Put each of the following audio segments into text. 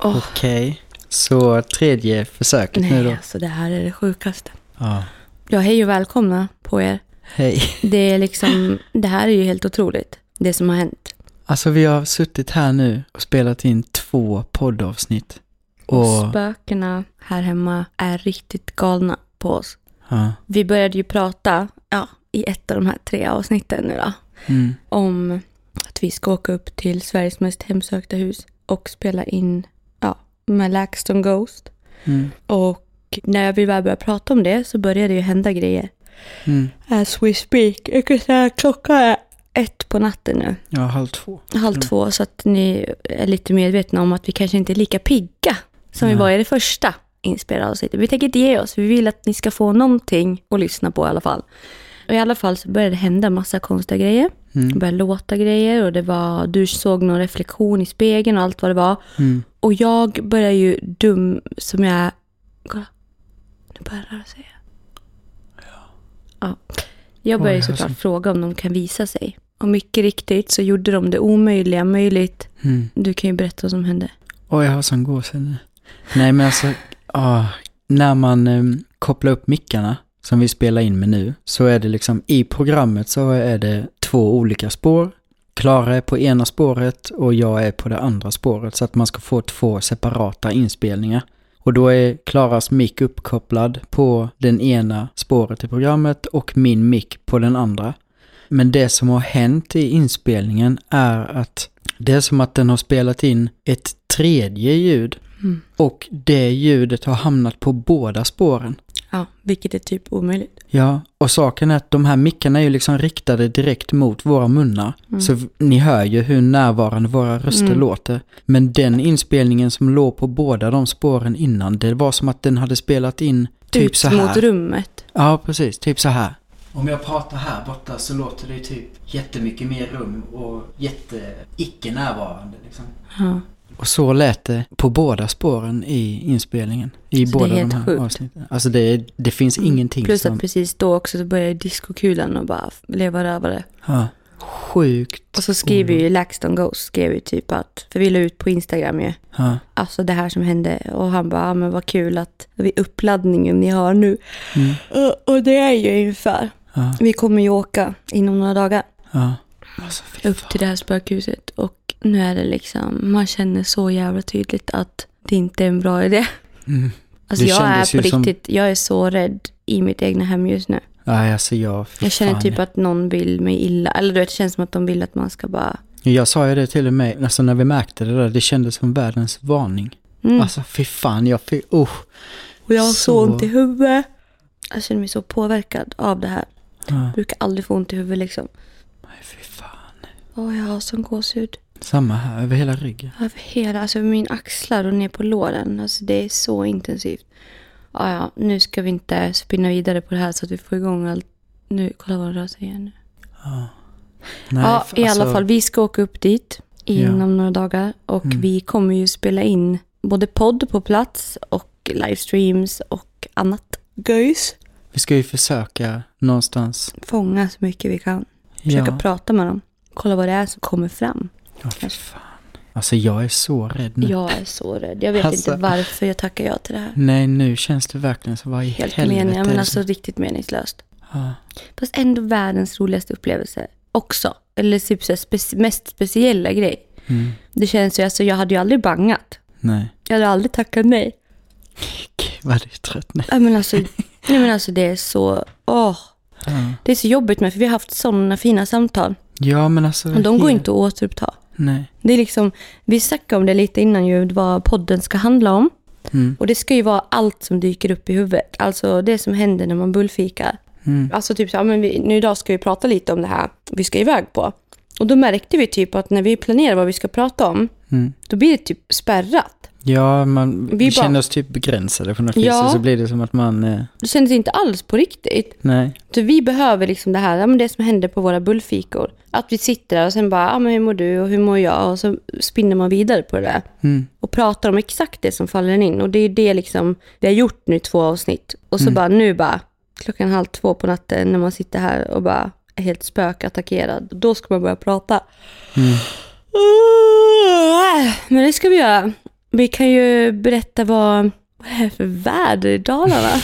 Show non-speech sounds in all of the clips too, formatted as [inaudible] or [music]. Åh. Okej, så tredje försöket nu Nej, då. alltså det här är det sjukaste. Ja. Ja, hej och välkomna på er. Hej. Det är liksom, det här är ju helt otroligt, det som har hänt. Alltså vi har suttit här nu och spelat in två poddavsnitt. Och Och, spökena här hemma är riktigt galna på oss. ja. Vi började ju prata, ja, i ett av de här tre avsnitten nu då, Mm. om att vi ska åka upp till Sveriges mest hemsökta hus och spela in, ja, med LaxTon Ghost. Mm. Och när vi väl började prata om det så började det ju hända grejer. Mm. As we speak. Jag kan säga att klockan är ett på natten nu. Ja, halv två. halv Mm. två så att ni är lite medvetna om att vi kanske inte är lika pigga som Nej. vi var i det första inspelade avsnittet. Vi tänker inte ge oss, vi vill att ni ska få någonting att lyssna på i alla fall. Och I alla fall så började det hända massa konstiga grejer. Det Mm. började låta grejer och det var, du såg någon reflektion i spegeln och allt vad det var. Mm. Och jag började ju dum som jag är. Kolla, nu börjar det röra sig. igen. Ja. Jag började Oj, såklart alltså. fråga om de kan visa sig. Och mycket riktigt så gjorde de det omöjliga möjligt. Mm. Du kan ju berätta vad som hände. Åh, jag har sån gåshud nu. Nej, men alltså, ah, när man em, kopplar upp mickarna som vi spelar in med nu, så är det liksom i programmet så är det två olika spår. Klara är på ena spåret och jag är på det andra spåret, så att man ska få två separata inspelningar. Och då är Klaras mick uppkopplad på den ena spåret i programmet och min mick på den andra. Men det som har hänt i inspelningen är att det är som att den har spelat in ett tredje ljud Mm. och det ljudet har hamnat på båda spåren. Ja, vilket är typ omöjligt. Ja, och saken är att de här mickarna är ju liksom riktade direkt mot våra munnar. Så v- ni hör ju hur närvarande våra röster Mm. låter. Men den inspelningen som låg på båda de spåren innan, det var som att den hade spelat in typ Ut så här. mot rummet. Ja, precis. Typ så här. Om jag pratar här borta så låter det ju typ jättemycket mer rum och jätte icke närvarande liksom. Ja. Och så lät det på båda spåren i inspelningen. I Så det är båda de helt här sjukt. Mm, avsnitten. Alltså det, det finns ingenting Plus som... att precis då också så började diskokulan och bara leva rövare. Ja. Sjukt. Och så skriver Mm. ju LaxTon Ghost, skrev ju typ att, för vi la ut på Instagram ju, Ja. alltså det här som hände. Och han bara, ah, men vad kul att vid uppladdningen ni har nu. Mm. Och, och det är ju ungefär. Ja. Vi kommer ju åka inom några dagar Ja. Alltså, fy upp till det här spökhuset. Och nu är det liksom, man känner så jävla tydligt att det inte är en bra idé. Mm. Alltså Det jag kändes är på ju som- riktigt, jag är så rädd i mitt egna hem just nu. Nej, alltså jag... fy Jag känner fan. typ att någon vill mig illa. Eller du vet, det känns som att de vill att man ska bara... Jag sa ju det till och med, alltså när vi märkte det där, det kändes som världens varning. Mm. Alltså fy fan, jag fick... Usch. Och jag har så, Så- ont i huvudet. Jag känner mig så påverkad av det här. Ja. Brukar aldrig få ont i huvudet liksom. Nej, fy fan. Åh, jag har sån gåshud. Samma här, över hela ryggen. Över hela, alltså över min axlar och ner på låren. Alltså det är så intensivt. Ja, ja, nu ska vi inte spinna vidare på det här så att vi får igång allt. Nu, kolla vad den rör sig igen nu. Nej, ja, f- i alla alltså, fall, vi ska åka upp dit inom några dagar. Och Mm. vi kommer ju spela in både podd på plats och livestreams och annat. Göjs. Vi ska ju försöka någonstans. Fånga så mycket vi kan. Försöka ja. prata med dem. Kolla vad det är som kommer fram. Ja, fy fan. Alltså jag är så rädd nu. Jag är så rädd. Jag vet Mm. Alltså. inte varför jag tackar ja till det här. Nej, nu känns det verkligen så. Vad i Helt helvete meningen, är men det alltså som- riktigt meningslöst. Ja. Fast ändå världens roligaste upplevelse också. Eller typ så här speci- mest speciella grej. Mm. Det känns ju, alltså jag hade ju aldrig bangat. Nej. Jag hade aldrig tackat nej. Gud, vad du är trött nu. Nej men [laughs] alltså, nej, men alltså det är så, åh. Ja. Det är så jobbigt med, för vi har haft sådana fina samtal. Ja, men alltså. Och de går helt- inte att återuppta. Nej. Det är liksom, vi snackade om det lite innan ju, vad podden ska handla om. Mm. Och det ska ju vara allt som dyker upp i huvudet. Alltså det som händer när man bullfikar. Mm. Alltså typ så, ja, men vi, nu idag ska vi prata lite om det här vi ska iväg på. Och då märkte vi typ att när vi planerar vad vi ska prata om, Mm. då blir det typ spärrat. Ja, man vi bara- känner oss typ begränsade på något vis. Ja. Och så blir det som att man... Eh, Det kändes inte alls på riktigt. nej. Så vi behöver liksom det här, ja, men det som händer på våra bullfikor. Att vi sitter där och sen bara, ja, men hur mår du och hur mår jag? Och så spinner man vidare på det där. Mm. Och pratar om exakt det som faller in. Och det är det liksom vi har gjort nu i två avsnitt. Och så bara nu bara, klockan halv två på natten när man sitter här och bara är helt spökattackerad. Då ska man börja prata. Men Äh, det ska vi göra. Vi kan ju berätta vad, vad det är för väder i Dalarna.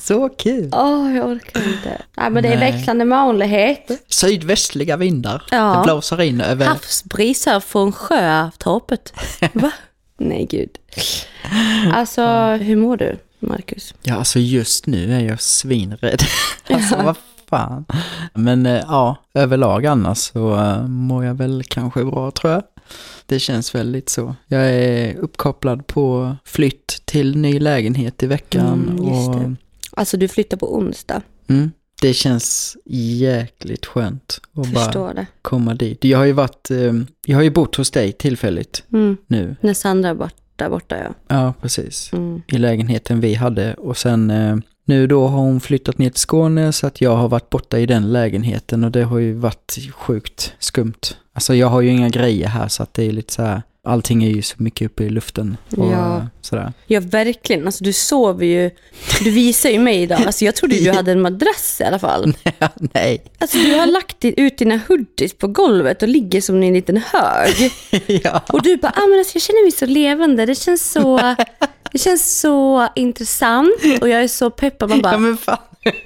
Så kul! Åh, jag orkar inte. Nej, men det är Nej. växlande molnighet. Sydvästliga vindar. Ja. Det blåser in över... Havsbris här från [laughs] sjötorpet. Va? Nej, gud. Alltså, hur mår du, Marcus? Ja, alltså just nu är [laughs] jag svinrädd. alltså vad fan. Men eh, ja, överlag annars så eh, mår jag väl kanske bra tror jag. Det känns väl lite så. Jag är uppkopplad på flytt till ny lägenhet i veckan. Mm, just och, det. Alltså, du flyttar på onsdag. Mm, det känns jäkligt skönt att bara Förstår det. komma dit. Jag har ju varit, eh, jag har ju bott hos dig tillfälligt Mm. nu. När Sandra är borta, borta ja. Ja, precis. Mm. i lägenheten vi hade och sen eh, nu då har hon flyttat ner till Skåne så att jag har varit borta i den lägenheten och det har ju varit sjukt skumt. Alltså jag har ju inga grejer här så att det är lite så här, allting är ju så mycket uppe i luften och Ja. eh, sådär. [laughs] Ja, verkligen. Alltså, du sover ju. Du visar ju mig idag. Alltså, jag trodde [laughs] du hade en madrass i alla fall. Nej. [laughs] Alltså, du har lagt di- ut dina hoodies på golvet och ligger som i en liten hög. ja. Och du bara, ah, men alltså, jag känner mig så levande. Det känns [laughs] så, det känns så intressant och jag är så peppad. Man ja, bara, men fan.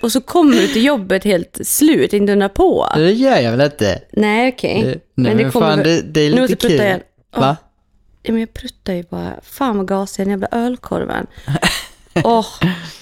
och så kommer du till jobbet helt slut, inte undra på. Det gör jag väl inte? Nej, okej. Det, nej men, fan, väl- det, det Nu är lite måste jag prutta igen. kul. Åh, Va? Ja, men jag pruttar ju bara. Fan vad gasig den jävla [laughs] ölkorven. Åh,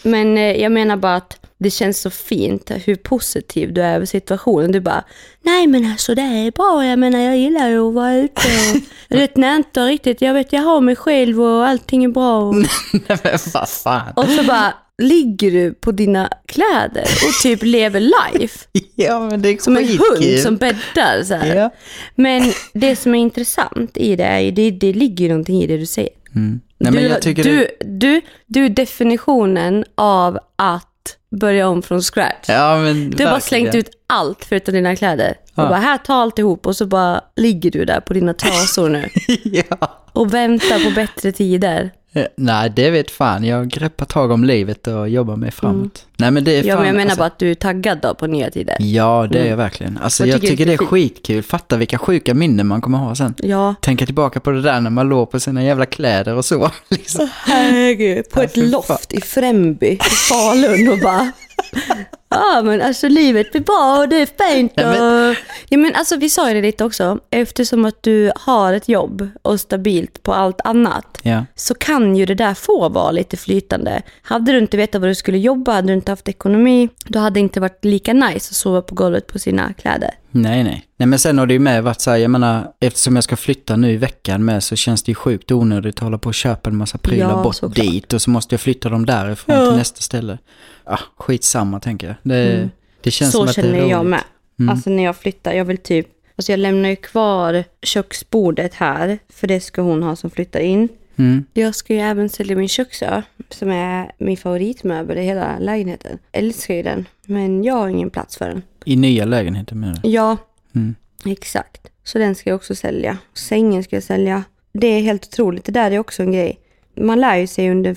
men eh, jag menar bara att det känns så fint hur positiv du är över situationen. Du bara, nej men alltså det är bra. Jag menar jag gillar ju att vara ute. [laughs] Och, jag vet när jag inte riktigt, jag vet jag har mig själv och allting är bra. [laughs] Och, [laughs] nej men vad fan. och så bara ligger du på dina kläder och typ lever life. Ja men det är Som en hund skitkul. som bäddar så här. Ja. Men det som är intressant i det är ju, det, det ligger ju någonting i det du säger. Mm. Nej men du, jag tycker du, det... du, du är definitionen av att börja om från scratch. Ja men Du har bara slängt ut allt förutom dina kläder. Och bara, här, ta alltihop och så bara ligger du där på dina trasor [laughs] nu ja. och väntar på bättre tider. Eh, Nej, det vet fan. Jag greppar tag om livet och jobbar mig framåt. Nej, men det är fan, Mm. Ja, men jag menar alltså, bara att du är taggad då på nya tider. Ja, det är jag verkligen. Alltså, Vad jag tycker du tycker det är inte är skitkul. Fatta vilka sjuka minnen man kommer ha sen. Ja. Tänka tillbaka på det där när man låg på sina jävla kläder och så. [laughs] Liksom. Herregud, på ett fy fan. loft i Främby, i Falun och bara... Ja men alltså livet blir bra och det är fint och... Nej, Ja men alltså vi sa ju det lite också, eftersom att du har ett jobb och stabilt på allt annat Ja. så kan ju det där få vara lite flytande. Hade du inte vetat vad du skulle jobba, hade du inte haft ekonomi, då hade det inte varit lika nice att sova på golvet på sina kläder. Nej, nej. Nej, men sen har det ju med varit så här, jag menar, eftersom jag ska flytta nu i veckan med så känns det ju sjukt onödigt att hålla på och köpa en massa prylar Ja, bort såklart. dit och så måste jag flytta dem därifrån till nästa ställe. Ah, skitsamma tänker jag. Det, det känns som Mm. så att det är känner jag roligt. Mm. med. Alltså när jag flyttar, jag vill typ, alltså jag lämnar ju kvar köksbordet här, för det ska hon ha som flyttar in. Mm. Jag ska ju även sälja min köksö, som är min favoritmöbel i hela lägenheten. Älskar ju den, men jag har ingen plats för den. I nya lägenheter menar du? Ja, Mm. exakt. Så den ska jag också sälja. Sängen ska jag sälja. Det är helt otroligt, det där är också en grej. Man lär ju sig under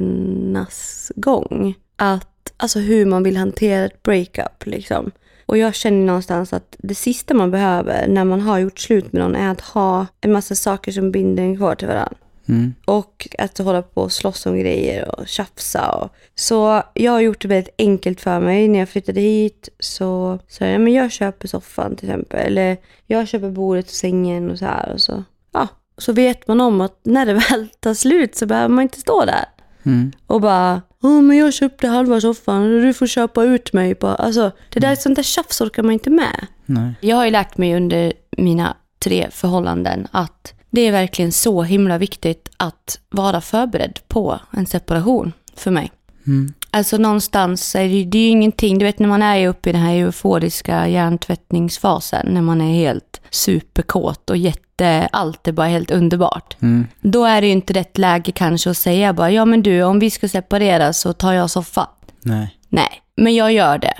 förhållandenas gång att, alltså hur man vill hantera ett breakup liksom. Och jag känner någonstans att det sista man behöver när man har gjort slut med någon är att ha en massa saker som binder en kvar till varandra. Mm. Och att hålla på och slåss om grejer och tjafsa. Och. Så jag har gjort det väldigt enkelt för mig. När jag flyttade hit så sa jag, "Ja, men jag köper soffan till exempel. Eller jag köper bordet och sängen och så här. Och så. Ja, så vet man om att när det [laughs] väl tar slut så behöver man inte stå där. Mm. Och bara, oh, men jag köpte halva soffan och du får köpa ut mig. Bara, alltså, det där, sånt där tjafs orkar man inte med. Nej. Jag har ju lärt mig under mina tre förhållanden att det är verkligen så himla viktigt att vara förberedd på en separation för mig. Mm. Alltså någonstans är det, ju- det är ju ingenting, du vet när man är uppe i den här euforiska hjärntvättningsfasen, när man är helt superkåt och jätte, allt är bara helt underbart. Mm. Då är det ju inte rätt läge kanske att säga bara, ja men du om vi ska separera så tar jag soffan. Nej. Nej, men jag gör det.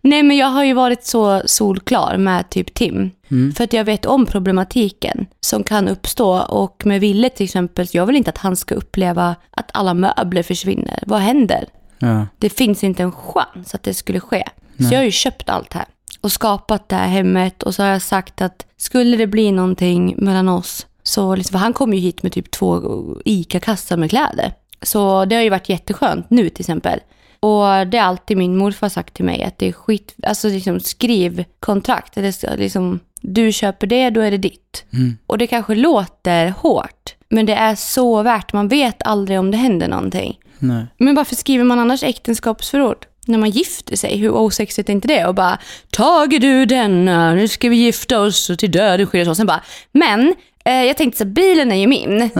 Nej, men jag har ju varit så solklar med typ Tim. För att jag vet om problematiken som kan uppstå. Och med Ville till exempel, jag vill inte att han ska uppleva att alla möbler försvinner. Vad händer? Ja. Det finns inte en chans att det skulle ske. Så jag har ju köpt allt här. och skapat det här hemmet och så har jag sagt att skulle det bli någonting mellan oss så liksom, för han kom ju hit med typ två ICA-kassar med kläder. Så det har ju varit jätteskönt nu till exempel. Och det har alltid min morfar sagt till mig att det är skit, alltså liksom skriv kontrakt. Eller så- liksom, du köper det, då är det ditt. Mm. Och det kanske låter hårt, men det är så värt. Man vet aldrig om det händer någonting. Nej. Men varför skriver man annars äktenskapsförord? När man gifter sig, hur osexigt är inte det? Och bara, tager du denna, nu ska vi gifta oss och till döden skiljas oss. Sen bara, men eh, jag tänkte så här, bilen är ju min.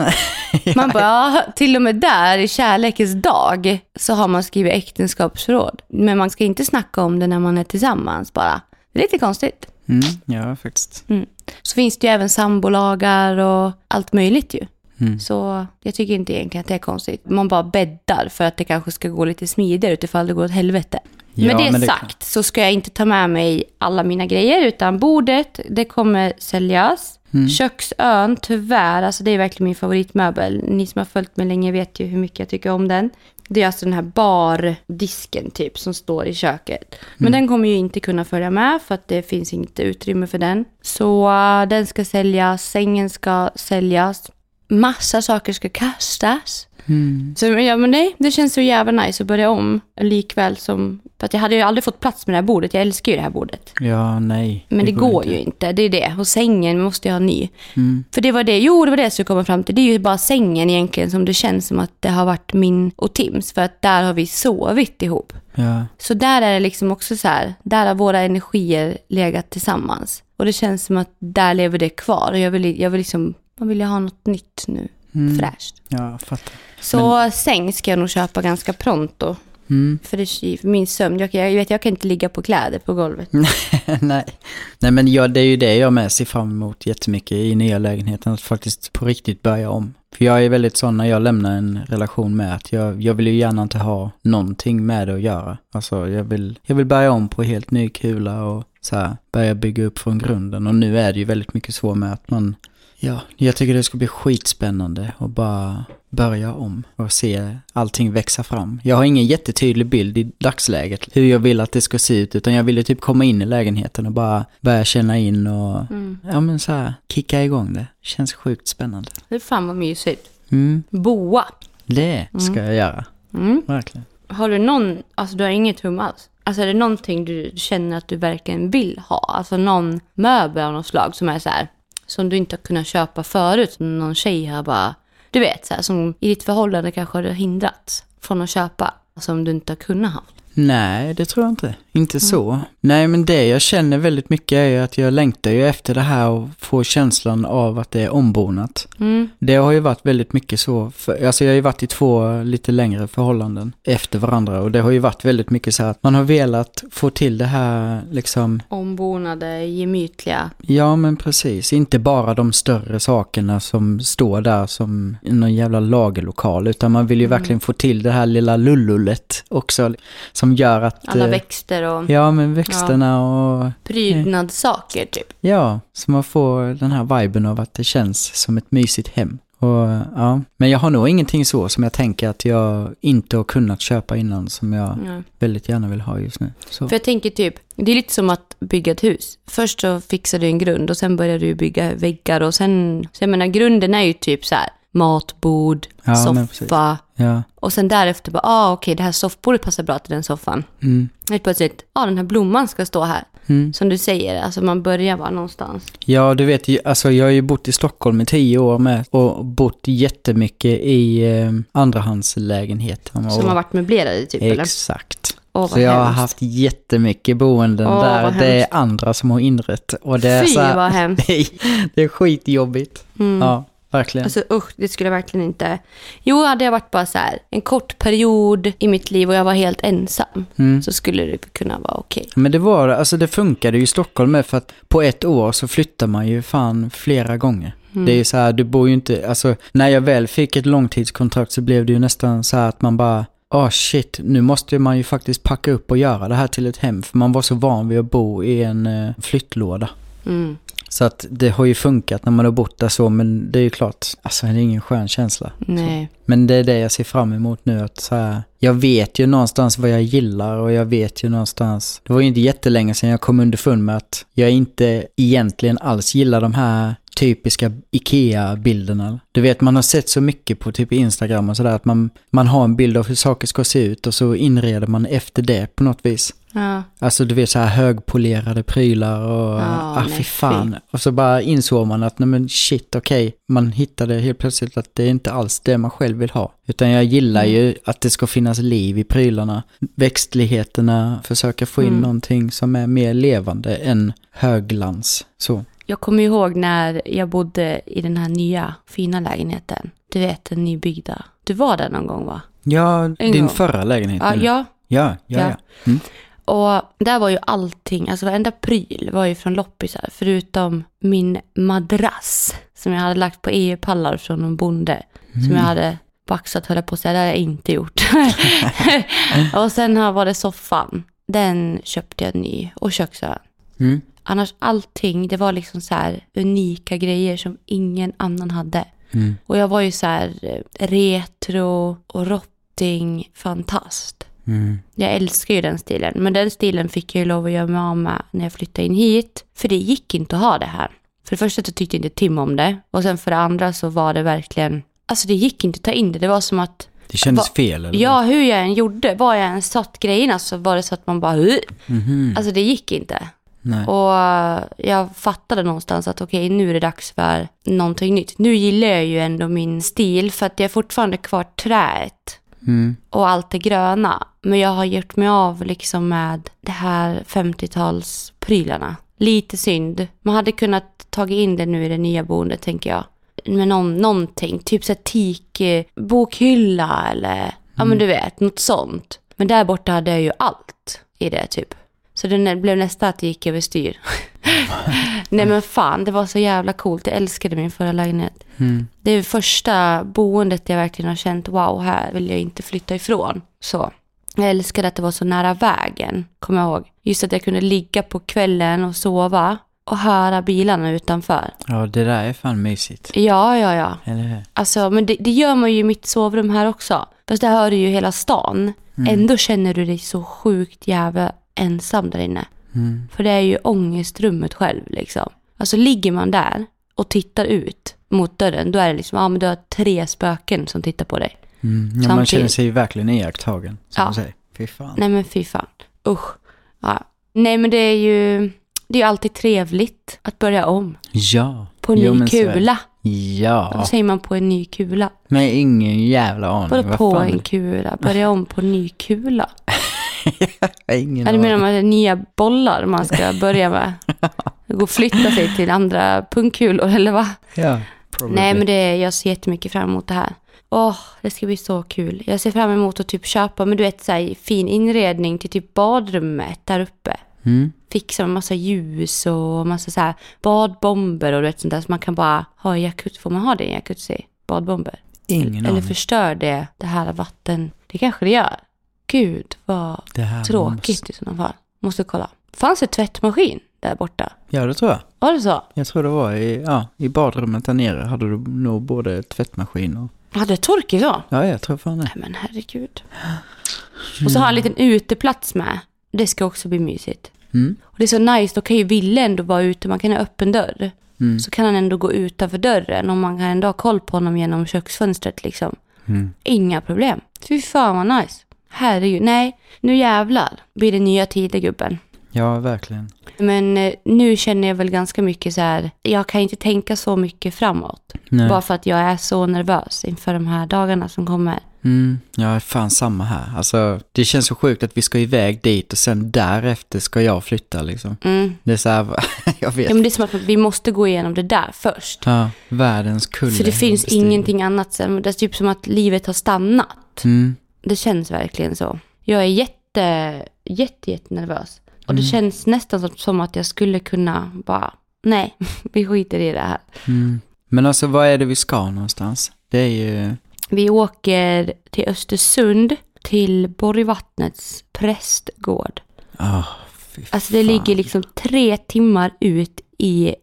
Man bara, ja, till och med där i kärlekens dag så har man skrivit äktenskapsförråd. Men man ska inte snacka om det när man är tillsammans bara. Det är lite konstigt. Mm, ja, faktiskt. Mm. Så finns det ju även sambolagar och allt möjligt ju. Mm. Så jag tycker inte egentligen att det är konstigt. Man bara bäddar för att det kanske ska gå lite smidigare utifall det går åt helvete. Ja, med det men det är sagt så ska jag inte ta med mig alla mina grejer utan bordet, det kommer säljas. Köksön, tyvärr, alltså det är verkligen min favoritmöbel. Ni som har följt mig länge vet ju hur mycket jag tycker om den. Det är alltså den här bardisken typ som står i köket. Men den kommer ju inte kunna följa med för att det finns inte utrymme för den. Så eh, den ska säljas, sängen ska säljas massa saker ska kastas. Så ja, men nej, det känns så jävla nice att börja om. Likväl som, för att jag hade ju aldrig fått plats med det här bordet. Jag älskar ju det här bordet. Ja, nej. Men det, går ju inte, Mm. det är det. Och sängen måste jag ha ny. För det var det, jo det var det jag skulle komma fram till. Det är ju bara sängen egentligen som det känns som att det har varit min och Tims. För att där har vi sovit ihop. Ja, Så där är det liksom också så här, där har våra energier legat tillsammans. Och det känns som att där lever det kvar. Och jag vill, jag vill liksom, man vill ju ha något nytt nu, fräscht. ja jag fattar. [laughs] Så säng ska jag nog köpa ganska pronto. Mm. För, det, för min sömn, jag, jag, vet, jag kan inte ligga på kläder på golvet. Mm. nej. nej, men ja, det är ju det jag med ser fram emot jättemycket i nya lägenheten. Att faktiskt på riktigt börja om. För jag är väldigt sån när jag lämnar en relation med att jag, jag vill ju gärna inte ha någonting med det att göra. Alltså jag vill, jag vill börja om på helt ny kula och så här, börja bygga upp från grunden. Och nu är det ju väldigt mycket så med att man, ja, jag tycker det ska bli skitspännande och bara börja om och se allting växa fram. Jag har ingen jättetydlig bild i dagsläget hur jag vill att det ska se ut utan jag ville typ komma in i lägenheten och bara börja känna in och ja men så här, kicka igång det. Känns sjukt spännande. Det är fan vad mysigt. Mm, Boa. det ska jag göra. Mm. Verkligen. Har du någon, alltså du har inget hum alls. Alltså är det någonting du känner att du verkligen vill ha? Alltså någon möbel av något slag som är så här, som du inte har kunnat köpa förut. Som Någon tjej har bara, du vet så här, som i ditt förhållande kanske har du hindrats från att köpa. Som du inte har kunnat ha. Nej, det tror jag inte. Inte Mm. så. Nej, men det jag känner väldigt mycket är ju att jag längtar ju efter det här och får känslan av att det är ombonat. Mm. Det har ju varit väldigt mycket så, för, alltså jag har ju varit i två lite längre förhållanden efter varandra och det har ju varit väldigt mycket så här att man har velat få till det här liksom, Ombonade, gemytliga. ja men precis, inte bara de större sakerna som står där som i någon jävla lagerlokal utan man vill ju Mm. verkligen få till det här lilla lullullet också som gör att... Alla eh, växter och... Ja men växterna och prydnadssaker typ. Ja, så man får den här viben av att det känns som ett mysigt hem. Och, ja. Men jag har nog ingenting så som jag tänker att jag inte har kunnat köpa innan som jag Ja. väldigt gärna vill ha just nu. Så. För jag tänker typ, det är lite som att bygga ett hus. Först så fixar du en grund och sen börjar du bygga väggar och sen, så jag menar grunden är ju typ så här matbord, Ja, men precis. soffa Ja, och sen därefter bara, ah okej det här soffbordet passar bra till den soffan. mm, Helt plötsligt, ah den här blomman ska stå här. mm. Som du säger, alltså man börjar bara någonstans. ja du vet, ju, alltså jag har ju bott i Stockholm i tio år med och bott jättemycket i eh, andrahandslägenheter. Som har varit möblerade typ eller? Exakt. Åh, vad Så jag har hemskt. haft jättemycket boenden Åh, vad där det är hemskt. andra som har inrett. Och det är Fy så här, vad [laughs] hemskt. det, är, det är skitjobbigt. Ja, verkligen. Alltså usch, det skulle jag verkligen inte. Jo, hade jag varit bara så här en kort period i mitt liv och jag var helt ensam så skulle det kunna vara okej. Mm. Men det var, alltså det funkade ju i Stockholm med för att på ett år så flyttar man ju fan flera gånger. Det är ju så här, du bor ju inte, alltså när jag väl fick ett långtidskontrakt så blev det ju nästan så här att man bara, ah shit, nu måste man ju faktiskt packa upp och göra det här till ett hem. För man var så van vid att bo i en eh, flyttlåda. Mm. Så att det har ju funkat när man har bott där så, men det är ju klart, alltså det är ingen skön känsla. Nej. Men det är det jag ser fram emot nu, att så här, jag vet ju någonstans vad jag gillar och jag vet ju någonstans, det var ju inte jättelänge sedan jag kom underfund med att jag inte egentligen alls gillar de här typiska IKEA-bilderna. Du vet, man har sett så mycket på typ Instagram och sådär att man, man har en bild av hur saker ska se ut och så inreder man efter det på något vis. Ja. Alltså du vet så här högpolerade prylar och Ja, ah, nej, fy fy. fan. Och så bara insåg man att nej men shit okej, man hittade helt plötsligt att det är inte alls det man själv vill ha. Utan jag gillar Mm. ju att det ska finnas liv i prylarna, växtligheterna, försöka få in Mm. någonting som är mer levande än högglans. Så. Jag kommer ihåg när jag bodde i den här nya fina lägenheten. Du vet, den nybyggda. Du var där någon gång va? Ja, En din gång. förra lägenhet. Ja, eller? ja. ja, ja. ja. Ja. Och där var ju allting, alltså varenda pryl var ju från loppisar. Förutom min madrass som jag hade lagt på EU-pallar från någon bonde. Som Mm. jag hade baxat höll jag på att säga, det hade jag inte gjort. [laughs] och sen här var det soffan. Den köpte jag ny och köksön. Mm. Annars allting, det var liksom så här unika grejer som ingen annan hade. Mm. Och jag var ju så här eh, retro och rotting fantast. Mm. Jag älskar ju den stilen, men den stilen fick jag ju lov att göra mig av med när jag flyttade in hit. För det gick inte att ha det här. För det första så tyckte inte Tim om det och sen för det andra så var det verkligen, alltså det gick inte att ta in det. Det var som att, Det kändes Va- fel eller? ja hur jag än gjorde, var jag än satt grejerna så var det så att man bara, "Ugh." Mhm. alltså det gick inte. Nej. Och eh, jag fattade någonstans att okej, nu är det dags för någonting nytt. Nu gillar jag ju ändå min stil för att jag är fortfarande kvar träet Mm. och allt det gröna. Men jag har gjort mig av liksom med det här 50-talsprylarna. Lite synd. Man hade kunnat tagit in det nu i det nya boendet tänker jag. Med någon, någonting, typ så här teak, eh, bokhylla eller ja men du vet, något sånt. Men där borta hade jag ju allt i det typ. Så det nä- blev nästan att det gick överstyr. [laughs] Nej men fan, det var så jävla coolt. Jag älskade min förra lägenhet. Det är första boendet jag verkligen har känt, wow, här vill jag inte flytta ifrån. Så. Jag älskade att det var så nära vägen, kommer jag ihåg. Just att jag kunde ligga på kvällen och sova och höra bilarna utanför. ja, det där är fan mysigt. Ja, ja, ja. Eller hur? Alltså, men det, det gör man ju i mitt sovrum här också. Fast där hör du ju hela stan. Mm. Ändå känner du dig så sjukt jävla ensam där inne. Mm. För det är ju ångestrummet själv liksom. Alltså ligger man där och tittar ut mot dörren, då är det liksom, ja men du har tre spöken som tittar på dig. Mm, ja, man Samtidigt- känner sig ju verkligen iakttagen. Som Ja. du säger. Fy fan. Nej men fy fan, usch. Ja. Nej men det är ju, det är ju alltid trevligt att börja om Ja. på en Jo, men ny så är det. kula. Vad Ja. säger man på en ny kula? Men ingen jävla aning. Vadå Vad på fan? en kula? Börja om på en ny kula? Jag har Ingen Ja, du aning. menar man är nya bollar man ska börja [laughs] med? Gå och flytta sig till andra pungkulor eller vad? Ja. Probably. Nej, men det, jag ser jättemycket fram emot det här. Åh, det ska bli så kul. Jag ser fram emot att typ köpa, men du vet, så här, fin inredning till typ badrummet där uppe. Mm. Fixa med massa ljus och massa så här badbomber och du vet sånt där. Så man kan bara ha i jacuzzi. Får man ha det i en jacuzzi? Badbomber? Ingen eller aning. förstör det det här vatten? Det kanske det gör. Gud, vad Det här Tråkigt Måste... i sådana fall. Måste kolla. Fanns det tvättmaskin där borta? Ja, det tror jag. Var det så? Jag tror det var i, ja, i badrummet där nere hade du nog både tvättmaskin och... Hade det tork i så? Ja, jag tror fan det. Nej men herregud. Och så har han en liten uteplats med. Det ska också bli mysigt. Mm. Och det är så nice, då kan ju Ville ändå vara ute, man kan ha öppen dörr. Mm. Så kan han ändå gå utanför dörren och man kan ändå ha koll på honom genom köksfönstret liksom. Mm. Inga problem. Fy fan vad nice. Herregud, nej, nu jävlar blir det nya tider gubben. Ja, verkligen. Men eh, nu känner jag väl ganska mycket så här, jag kan inte tänka så mycket framåt. Nej. Bara för att jag är så nervös inför de här dagarna som kommer. Mm, ja, fan samma här. Alltså, det känns så sjukt att vi ska iväg dit och sen därefter ska jag flytta liksom. Mm. Det är så här, [laughs] jag vet. Ja, men det är som att vi måste gå igenom det där först. Ja, världens kulle. För det finns bestiger. ingenting annat sen. Det är typ som att livet har stannat. Mm, Det känns verkligen så. Jag är jätte, jätte, jätte nervös. Och det känns nästan som, som att jag skulle kunna bara, nej, [laughs] vi skiter i det här. mm. Men alltså vad är det vi ska någonstans? Det är ju... Vi åker till Östersund, till Borgvattnets prästgård. ah fy Alltså det fan. ligger liksom tre timmar ut i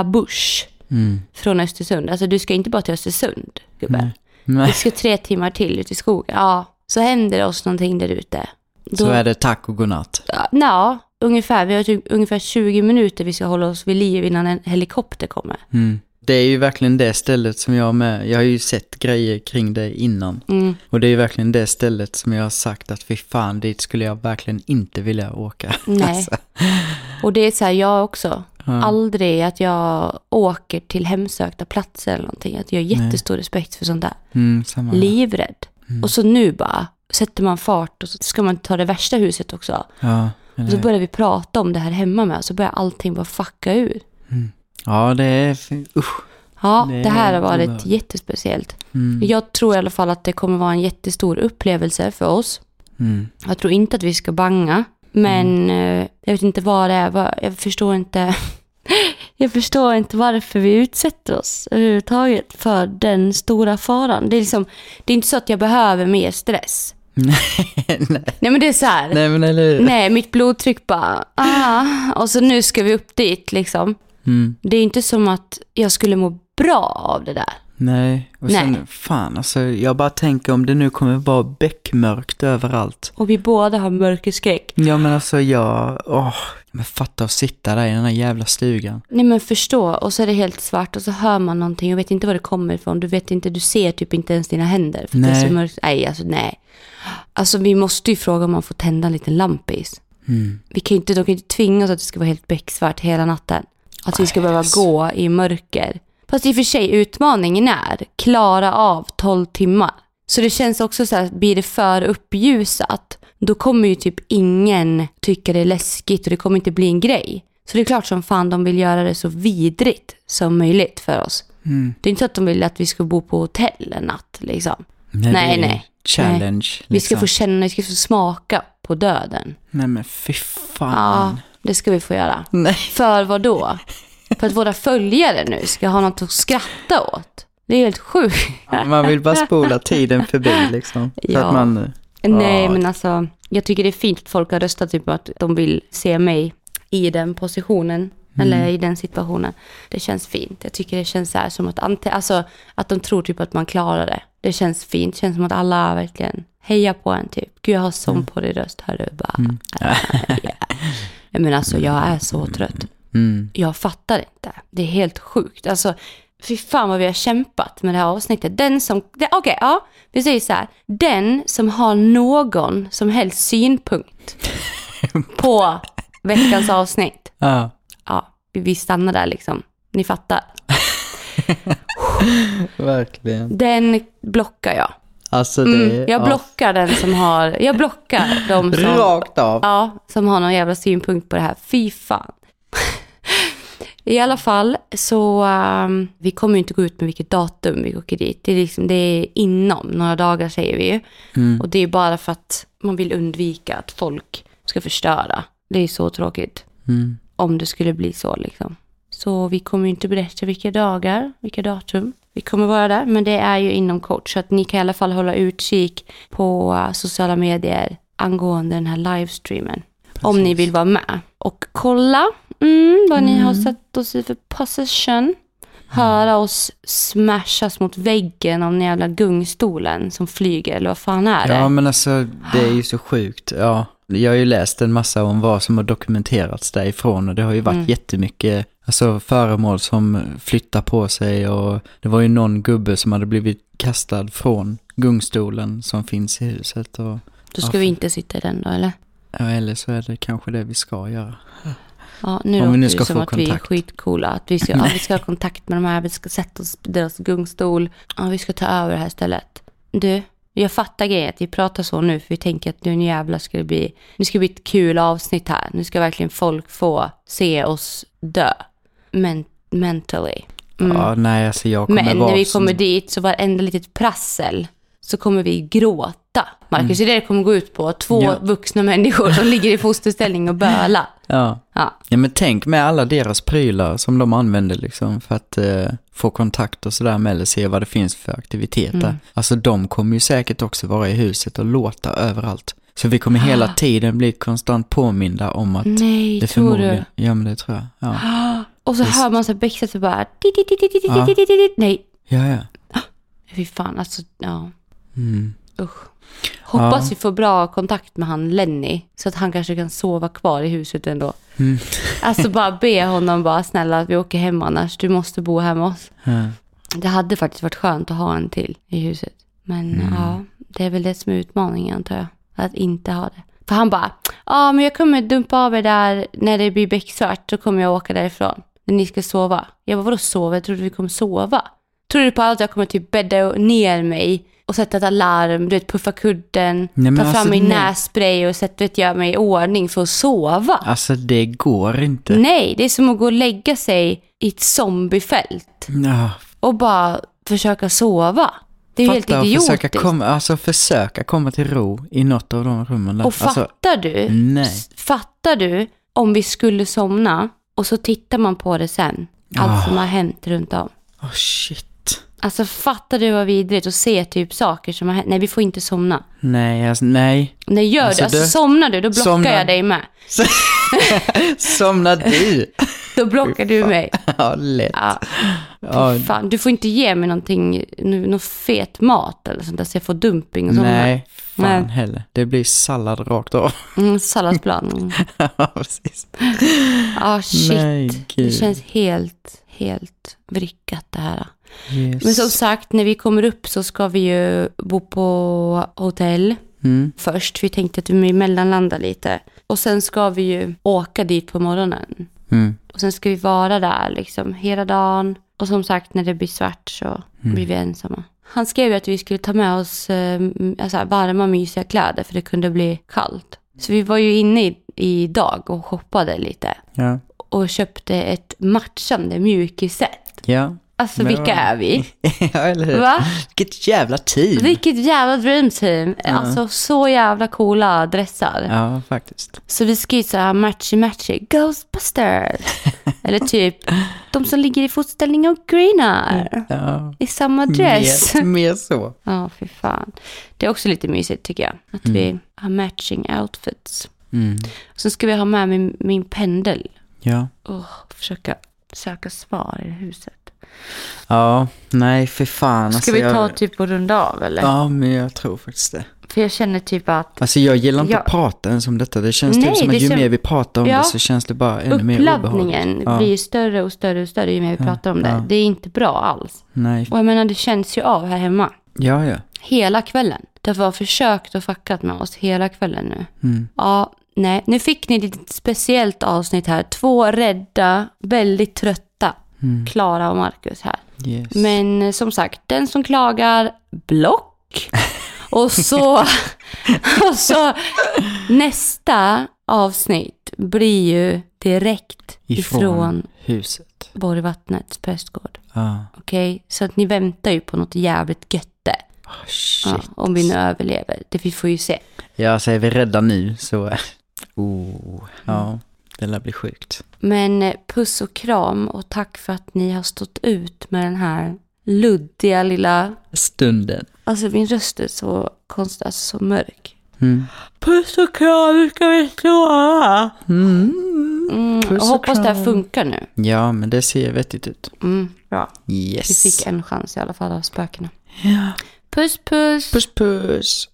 Labush Mm. från Östersund. Alltså du ska inte bara till Östersund, gubbe. Nej. Du Nej. ska tre timmar till ut i skogen. Ja, så händer det oss någonting där ute. [laughs] Så Då- är det tack och godnatt. Ja, nja, ungefär. Vi har typ, ungefär 20 minuter vi ska hålla oss vid liv innan en helikopter kommer. Mm. Det är ju verkligen det stället som jag med. Jag har ju sett grejer kring det innan. Mm. Och det är ju verkligen det stället som jag har sagt att fy fan, dit skulle jag verkligen inte vilja åka. [laughs] Nej. Alltså, Och det är så här, jag också. ja. Aldrig att jag åker till hemsökta platser eller någonting. Att jag har jättestor respekt för sånt där. mm, samma. här. Livrädd. Mm. Och så nu bara sätter man fart och så ska man ta det värsta huset också. Ja, Och eller- så börjar vi prata om det här hemma med. Så börjar allting bara fucka ur. ja, det är... fy- Usch. Ja, Det det här har är varit obehagligt. jättespeciellt. Mm. Jag tror i alla fall att det kommer vara en jättestor upplevelse för oss. Mm. [laughs] Jag tror inte att vi ska banga, men eh, jag vet inte vad det är. Vad, jag förstår inte. [laughs] jag förstår inte varför vi utsätter oss överhuvudtaget för den stora faran. Det är liksom, det är inte så att jag behöver mer stress. Nej. Nej men det är så här. Nej. Nej, men eller hur? mitt blodtryck bara, ah, och så nu ska vi upp dit liksom. Mm. Det är inte som att jag skulle må bra av det där. Nej, och sen Nej. fan alltså, jag bara tänker om det nu kommer vara bäckmörkt överallt. Och vi båda har mörkerskräck. Ja men alltså jag, åh, men fatta att sitta där i den här jävla stugan. Nej men förstå, och så är det helt svart och så hör man någonting och vet inte var det kommer ifrån. Du vet inte, du ser typ inte ens dina händer. För nej. Det är Nej. så mörkt. Nej, alltså nej. Alltså vi måste ju fråga om man får tända en liten lampis. Mm. Vi kan ju inte, de kan ju inte tvinga oss att det ska vara helt becksvart hela natten. Att vi ska Nej, behöva alltså. gå i mörker. Fast i och för sig, utmaningen är klara av 12 timmar. Så det känns också så här, blir det för uppljusat, då kommer ju typ ingen tycka det är läskigt och det kommer inte bli en grej. Så det är klart som fan de vill göra det så vidrigt som möjligt för oss. Mm. Det är inte så att de vill att vi ska bo på hotell en natt liksom. Nej, Nej, det är nej. Challenge. Vi ska liksom. få känna, vi ska få smaka på döden. Nej men fy Ja, fan. det ska vi få göra. Nej. För vad då? För att våra följare nu ska ha något att skratta åt. Det är helt sjukt. Man vill bara spola tiden förbi liksom. Så Ja. att man, Nej, men alltså, jag tycker det är fint att folk har röstat typ att de vill se mig i den positionen. Eller i den situationen. Det känns fint. Jag tycker det känns så här som att, ante, alltså, att de tror typ att man klarar det. Det känns fint. Det känns som att alla verkligen hejar på en typ. Gud, jag har sån på din röst, hör du. Bara, [laughs] ja. Men alltså, jag är så trött. mm. Jag fattar inte. Det är helt sjukt. Alltså, fy fan vad vi har kämpat med det här avsnittet. Den som, det- okej, ja, vi säger så här. Den som har någon som helst synpunkt på veckans avsnitt. Ja. Ja, vi- vi stannar där liksom. Ni fattar. Verkligen. Den blockar jag. Alltså det, Mm, jag ja. blockar den som har, jag blockar de som, Rakt av. ja, som har någon jävla synpunkt på det här. Fy fan. [laughs] I alla fall så, ehm, vi kommer ju inte gå ut med vilket datum vi åker dit. Det är, liksom, det är inom några dagar säger vi ju. Och det är bara för att man vill undvika att folk ska förstöra. Det är så tråkigt Mm. om det skulle bli så liksom. Så vi kommer ju inte berätta vilka dagar, vilka datum vi kommer vara där. Men det är ju inom kort så att ni kan i alla fall hålla utkik på eh, sociala medier angående den här livestreamen. Om ni vill vara med och kolla mm, vad ni har satt oss i för position. Höra oss smashas mot väggen av den jävla gungstolen som flyger eller vad fan är det? Ja men alltså det är ju så sjukt. Ja. Jag har ju läst en massa om vad som har dokumenterats därifrån och det har ju Mm. varit jättemycket alltså, föremål som flyttar på sig och det var ju någon gubbe som hade blivit kastad från gungstolen som finns i huset. Och, Då ska vi inte sitta i den då eller? ja, eller så är det kanske det vi ska göra. Ja, nu Om vi låter nu det ska som få att vi är kontakt. skitcoola. Att vi ska, ja, vi ska ha kontakt med de här, vi ska sätta oss på deras gungstol. Ja, vi ska ta över det här stället. Du, jag fattar grejen att vi pratar så nu, för vi tänker att nu en jävla ska det bli, nu ska det bli ett kul avsnitt här. Nu ska verkligen folk få se oss dö. Men, mentally. Mm. Ja, nej alltså jag kommer Men vara när vi som- kommer dit så varenda litet prassel så kommer vi gråta. Marcus, det är det det kommer gå ut på. Två Mm. Ja. vuxna människor som ligger i fosterställning och bölar. Ja. Ja. ja, men tänk med alla deras prylar som de använder liksom för att eh, få kontakt och sådär med eller se vad det finns för aktiviteter. Mm. Alltså de kommer ju säkert också vara i huset och låta överallt. Så vi kommer hela tiden bli konstant påminda om att Nej, det Ah. Mm, tror du? Ah. förmodligen... Ja, men det tror jag. Ja. Och så Visst. hör man så här Beckstedt och bara... "Di, di, di, di, di, di, Ja. di, di, di, di." Nej, Ja, ja. fy fan alltså. Ja, Mm. usch. Hoppas vi får bra kontakt med han Lenny. Så att han kanske kan sova kvar i huset ändå. Mm. Alltså bara be honom bara snälla vi åker hem annars. Du måste bo här med oss. Ja. Det hade faktiskt varit skönt att ha en till i huset. Men Mm. ja, det är väl det som är utmaningen antar jag. Att inte ha det. För han bara, ja men jag kommer dumpa av er där när det blir becksvart. Då kommer jag åka därifrån. När ni ska sova. Jag bara, vadå sova? Jag trodde vi kommer sova. Tror du på allt jag kommer typ bädda ner mig och sätta ett alarm, du vet puffa kudden, Nej, men ta alltså, fram min nej. nässpray och sätta, du vet, göra mig i ordning för att sova. Alltså det går inte. Nej, det är som att gå och lägga sig i ett zombiefält Ja, och bara försöka sova. Det är ju helt fatta och försöka idiotiskt. komma, alltså försöka komma till ro i något av de rummen där. och fattar alltså, du? nej. s- Fattar du om vi skulle somna och så tittar man på det sen? Ah. Allt som har hänt runt om. Åh shit. Alltså fattar du vad vidrigt att se typ saker som har hänt? Nej, vi får inte somna. Nej, alltså, nej. Nej, gör Alltså, du? Alltså du- somnar du, då blockar Somnar- jag dig med. [laughs] Somna du. Då blockar du [laughs] mig. ja, lätt. Ja, Ja, fan. Du får inte ge mig någonting, någon fet mat eller sånt där så jag får dumping och sånt där. nej, Nej. fan heller. Det blir sallad rakt av. [laughs] Mm, salladsplan. Mm. Ja, precis. [laughs] Ah, shit. Nej, det gud. känns helt, helt vrickat det här. Yes. Men som sagt, när vi kommer upp så ska vi ju bo på hotell Mm. först. Vi tänkte att vi mellanlandar lite. Och sen ska vi ju åka dit på morgonen. Mm. Och sen ska vi vara där liksom hela dagen. Och som sagt, när det blir svart så Mm. blir vi ensamma. Han skrev ju att vi skulle ta med oss eh, m- alltså, här, varma, mysiga kläder för det kunde bli kallt. Så vi var ju inne i, i dag och shoppade lite Ja. och köpte ett matchande mjukisset. Ja. [laughs] Alltså Men vilka vad- är vi? ja, eller hur? [laughs] Va? Vilket jävla team. Vilket jävla dream team. Alltså så jävla coola dressar. Ja, faktiskt. Så vi ska ju såhär matchy matchy, [laughs] Ghostbusters. Eller typ de som ligger i fotställning och Mm. grinar. Ja. I samma dress. Mer, mer så. Ja, fy fan. Det är också lite mysigt tycker jag. Att vi har matching outfits. Mm. Sen ska vi ha med min, min pendel Ja. och försöka söka svar i huset. Ja, nej för fan. Ska alltså, vi ta jag... typ och runda av eller? Ja, men jag tror faktiskt det. För jag känner typ att Alltså jag gillar inte Ja. att prata ens om detta. Det känns Nej, typ som det att ju kän- mer vi pratar om Ja. det så känns det bara ännu mer obehagligt. uppladdningen Ja. blir ju större och större och större ju mer vi pratar om det. Det är inte bra alls. Nej, Och jag menar det känns ju av här hemma. ja ja. Hela kvällen. Därför har försökt och fuckat med oss hela kvällen nu. Mm. Ja, nej. Nu fick ni ett litet speciellt avsnitt här. Två rädda, väldigt trötta. Mm. Klara och Marcus här. Yes. Men eh, som sagt, den som klagar, [laughs] block. Och så, [laughs] och så nästa avsnitt blir ju direkt ifrån, Ifrån, ifrån huset. Ah. Borgvattnets prästgård. Ja. Okej, så att ni väntar ju på något jävligt götte. Ah, Ja, shit. om vi nu överlever. Det vi får ju se. Ja, så är vi rädda nu så... Oh, ja. Det lär bli sjukt. Men eh, puss och kram och tack för att ni har stått ut med den här luddiga lilla... Stunden. Alltså min röst är så konstig, alltså så mörk. Mm. Puss och kram, nu ska vi sova! Mm, och Puss och hoppas det här kram. funkar nu. Ja, men det ser vettigt ut. Mm, bra. Yes. Vi fick en chans i alla fall av spökena. Ja. Puss puss! Puss puss.